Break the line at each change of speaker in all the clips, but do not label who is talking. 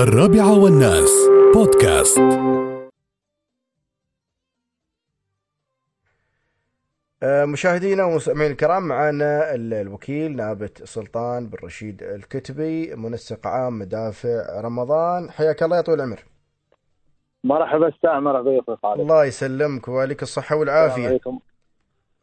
الرابعة والناس بودكاست
آه، مشاهدينا ومستمعينا الكرام معنا ال- الوكيل نائبة سلطان بن رشيد الكتبي منسق عام مدافع رمضان حياك الله يا طويل العمر
مرحبا استعمر ضيفي خالد
الله يسلمك وعليك الصحة والعافية
عليكم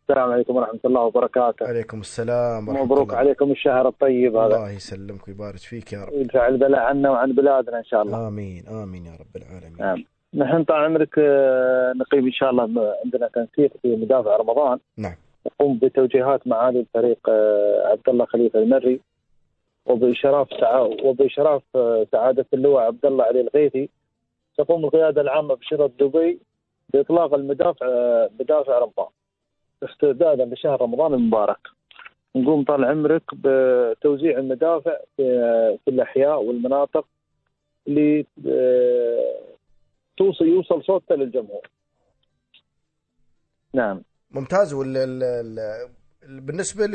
السلام عليكم ورحمه الله وبركاته
عليكم السلام ورحمة
مبروك
الله.
عليكم الشهر الطيب هذا
الله يسلمك ويبارك فيك يا رب
يدفع البلاء عنا وعن بلادنا ان شاء الله
آمين آمين يا رب العالمين
نعم. نحن طال عمرك آه، نقيم ان شاء الله م- عندنا تنسيق في مدافع رمضان
نعم.
نقوم بتوجيهات معالي الفريق آه، عبد الله خليفه المري وباشراف سع... وباشراف آه، سعاده اللواء عبد الله علي الغيثي تقوم القياده العامه بشرطه دبي باطلاق المدافع آه، مدافع رمضان استعدادا لشهر رمضان المبارك نقوم طال عمرك بتوزيع المدافع في آه، في الاحياء والمناطق اللي آه، توصل يوصل صوته للجمهور نعم
ممتاز وال ال- ال- ال- بالنسبة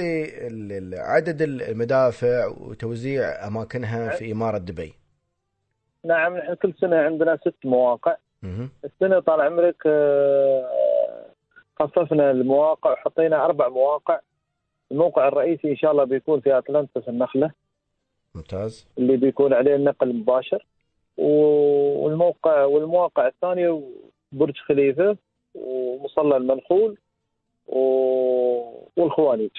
لعدد المدافع وتوزيع أماكنها في إمارة دبي
نعم نحن كل سنه عندنا ست مواقع
مهم.
السنه طال عمرك آه، خففنا المواقع وحطينا اربع مواقع الموقع الرئيسي ان شاء الله بيكون في اتلانتا في النخله
ممتاز
اللي بيكون عليه النقل المباشر و- والموقع والمواقع الثانيه برج خليفه ومصلى المنخول و- والخوانيج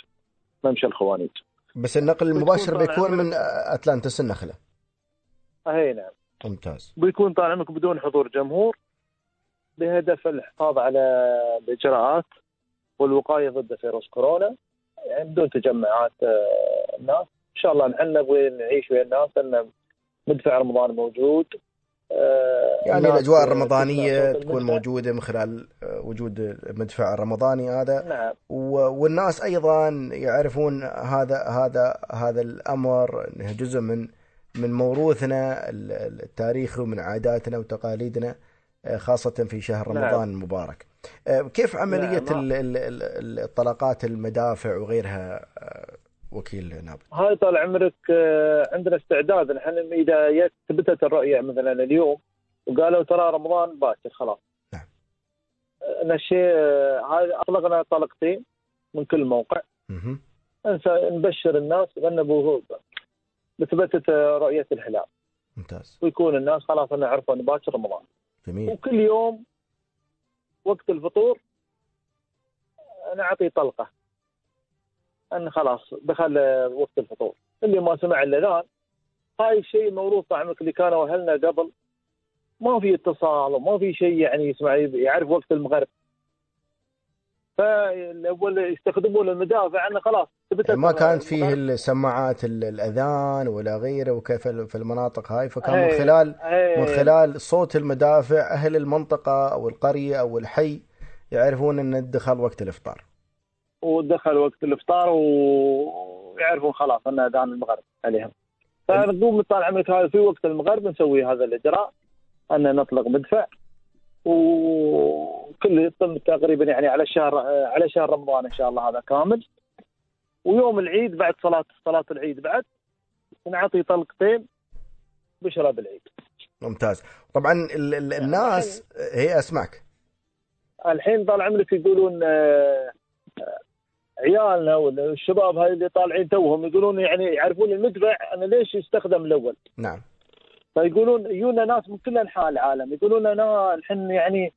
ممشى الخوانيج
بس النقل المباشر
طال
بيكون من أتلانتس النخلة
اي نعم
ممتاز
بيكون طال عمرك بدون حضور جمهور بهدف الحفاظ على الاجراءات والوقايه ضد فيروس كورونا يعني بدون تجمعات آه، الناس ان شاء الله نحن نبغي نعيش ويا الناس ان مدفع رمضان موجود آه،
يعني
الناس
الاجواء
تسمع
الرمضانيه
صوت
تكون
المدفع.
موجوده من خلال آه، وجود المدفع الرمضاني هذا
نعم
و- والناس ايضا يعرفون هذا هذا هذا الامر انه جزء من من موروثنا ال- ال- التاريخي ومن عاداتنا وتقاليدنا آه، خاصه في شهر
نعم.
رمضان المبارك. آه، كيف عمليه
نعم.
ال- ال- ال- الطلقات المدافع وغيرها آه، وكيل نابل؟
هاي طال عمرك آه، عندنا استعداد نحن اذا جت- ثبتت الرؤيه مثلا اليوم وقالوا ترى رمضان باكر خلاص
نعم.
آه، نشي آه، هاي اطلقنا طلقتين من كل موقع
مهم.
نس- نبشر الناس بانه بثبتت آه، رؤيه الهلال
ممتاز
ويكون الناس خلاص انا عرفوا ان باكر رمضان
جميل
إيه. وكل يوم وقت الفطور انا اعطي طلقه ان خلاص دخل وقت الفطور اللي ما سمع الاذان هاي الشيء موروث طعمك اللي كانوا اهلنا قبل ما في اتصال وما في شيء يعني يسمع يعرف وقت المغرب فالاول يستخدمون المدافع انه خلاص ثبتت
ما كانت
المغرب.
فيه السماعات ال- الاذان ولا غيره وكيف ال- في المناطق هاي فكان من
أي-
خلال
أي-
من خلال صوت المدافع اهل المنطقه او القريه او الحي يعرفون ان دخل وقت الافطار
ودخل وقت الافطار ويعرفون خلاص ان اذان المغرب عليهم. فنقوم طال عمرك هذا في وقت المغرب نسوي هذا الاجراء ان نطلق مدفع وكل يتم تقريبا يعني على شهر آه، على شهر رمضان ان شاء الله هذا كامل ويوم العيد بعد صلاه صلاه العيد بعد نعطي طلقتين بشرى بالعيد.
ممتاز طبعا ال- ال-
يعني
الناس هي اسمعك
الحين طال عمرك يقولون آه، آه، عيالنا ولا الشباب هاي اللي طالعين توهم يقولون يعني يعرفون المدفع انا ليش يستخدم الاول؟
نعم
فيقولون يجونا ناس من كل انحاء العالم يقولون انا الحين يعني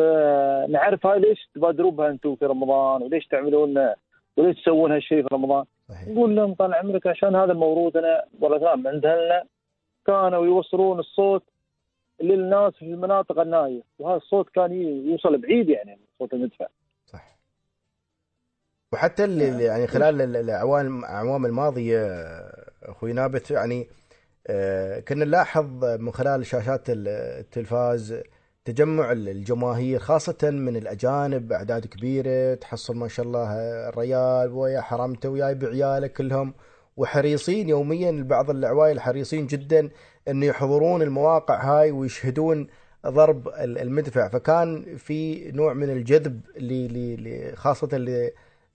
آه، نعرف هاي ليش تبادروا بها انتم في رمضان وليش تعملون آه، وليش تسوون هالشيء في رمضان؟
صحيح
نقول لهم طال عمرك عشان هذا موروثنا ورثناه من عند اهلنا كانوا يوصلون الصوت للناس في المناطق النائيه وهذا الصوت كان يوصل بعيد يعني صوت المدفع.
صح وحتى اللي
نعم.
اللي يعني خلال ال- الاعوام الاعوام الماضيه اخوي نابت يعني آه، كنا نلاحظ من خلال شاشات ال- التلفاز تجمع ال- الجماهير خاصة من الأجانب أعداد كبيرة تحصل ما شاء الله آه، الريال ويا حرمته وياي بعيالك كلهم وحريصين يوميا بعض العوائل حريصين جدا أن يحضرون المواقع هاي ويشهدون ضرب ال- المدفع فكان في نوع من الجذب ل- ل- ل- خاصة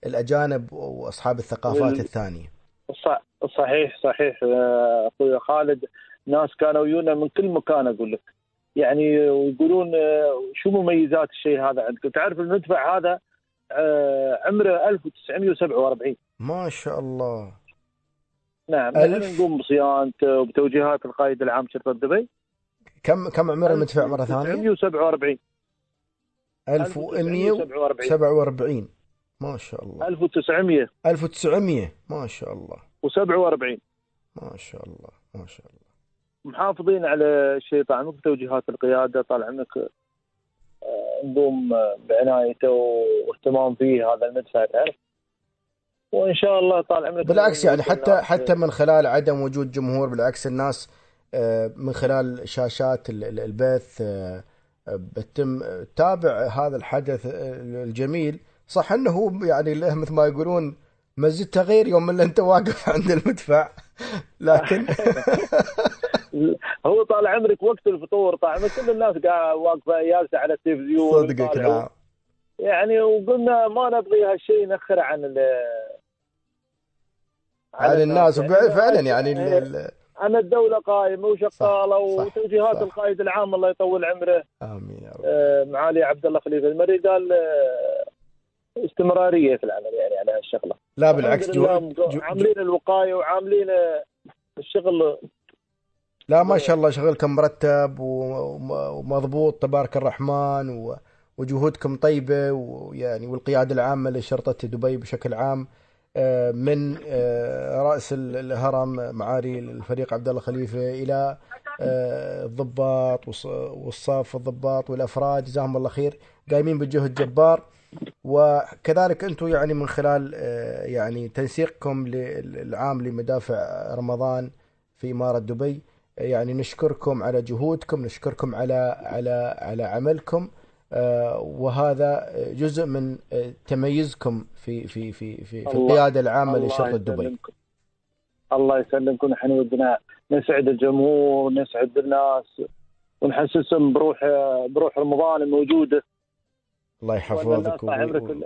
للأجانب وأصحاب الثقافات
وال-
الثانية
ص- صحيح صحيح آه، اخوي خالد ناس كانوا يجونا من كل مكان اقول لك يعني ويقولون آه، شو مميزات الشيء هذا عندكم تعرف المدفع هذا آه، عمره 1947
ما شاء الله
نعم
ألف.
نحن نقوم بصيانته وبتوجيهات القائد العام شرطه دبي
كم كم عمر المدفع مره ثانيه؟
1947
1147 ما شاء الله
1947
1900 ما شاء الله
1947
ما شاء الله ما شاء الله
محافظين على الشيء طبعا بتوجيهات القياده طالع منك آه، نقوم آه، بعنايته واهتمام فيه هذا المدفع تعرف وان شاء الله طالع منك
بالعكس يعني حتى حتى من خلال عدم وجود جمهور بالعكس الناس آه، من خلال شاشات ال- ال- البث آه، آه، بتم آه، تابع هذا الحدث آه، الجميل صح انه هو يعني له مثل ما يقولون مزيد تغيير يوم اللي انت واقف عند المدفع لكن
هو طال عمرك وقت الفطور طال عمرك كل الناس قاعده واقفه جالسه على التلفزيون
صدقك
ويطالعون.
نعم
يعني وقلنا ما نبغي هالشيء نخر عن ال
على الناس وبع- فعلا يعني ال-
أنا-
ال-
انا الدوله قائمه وشغاله
صح، صح،
وتوجيهات
صح.
القائد العام الله يطول عمره
امين يا رب
آه، معالي عبد الله خليفه المري قال آه، استمراريه في العمل يعني على هالشغله
لا آه، بالعكس
الحمد لله
جو
مق-
جو جو
عاملين الوقايه وعاملين آه، الشغل
لا ما شاء الله شغلكم مرتب و- وم- ومضبوط تبارك الرحمن و- وجهودكم طيبة ويعني والقيادة العامة لشرطة دبي بشكل عام آه، من آه، رأس ال- الهرم معالي الفريق عبد الله خليفة إلى آه، الضباط والص- والصف الضباط والأفراد جزاهم الله خير قايمين بجهد جبار وكذلك أنتم يعني من خلال آه، يعني تنسيقكم للعام لمدافع رمضان في إمارة دبي يعني نشكركم على جهودكم نشكركم على على على عملكم آه، وهذا جزء من آه، تميزكم في في في في, في
الله-
القياده العامه
الله
لشرطه دبي
يسلمكم. الله يسلمكم احنا ودنا نسعد الجمهور نسعد الناس ونحسسهم بروح آه، بروح رمضان الموجوده
الله
وأن الناس
يحفظك
طال عمرك
و-
ال-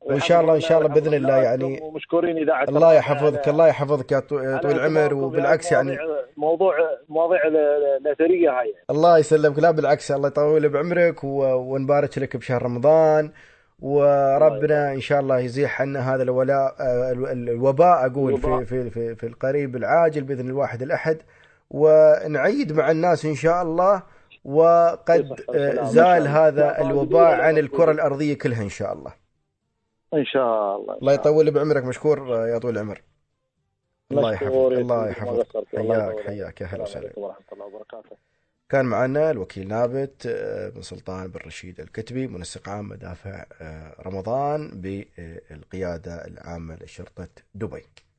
وإن شاء الله- إن شاء الله بإذن الله يعني-
ومشكورين اذاعه
الله
رمضان
يحفظك
على-
الله يحفظك يا طو- يا
على
طويل العمر
اهتمامكم
وبالعكس يعني
بهالمواضيع- موضوع مواضيع ال- الاثريه هاي
الله يسلمك لا بالعكس الله يطول بعمرك و... ونبارك لك بشهر رمضان وربنا ان شاء الله يزيح عنا هذا الولاء آه، ال- ال- الوباء اقول في
الوباء.
في في, في القريب العاجل باذن الواحد الاحد ونعيد مع الناس ان شاء الله وقد
يصح
آه،
السلام. إن شاء
زال
الله.
هذا
يا
الوباء
طالبين
عن
ولا
الكره
مسؤولين؟
الارضيه كلها ان شاء الله
ان شاء الله
الله يطول بعمرك مشكور آه، يا طويل العمر الله يحفظك الله يحفظك حياك حياك يا اهلا
السلام
وسهلا
عليكم ورحمه الله وبركاته
كان معنا الوكيل نابت آه، بن سلطان بن رشيد الكتبي منسق عام مدافع آه، رمضان بالقيادة العامة لشرطة دبي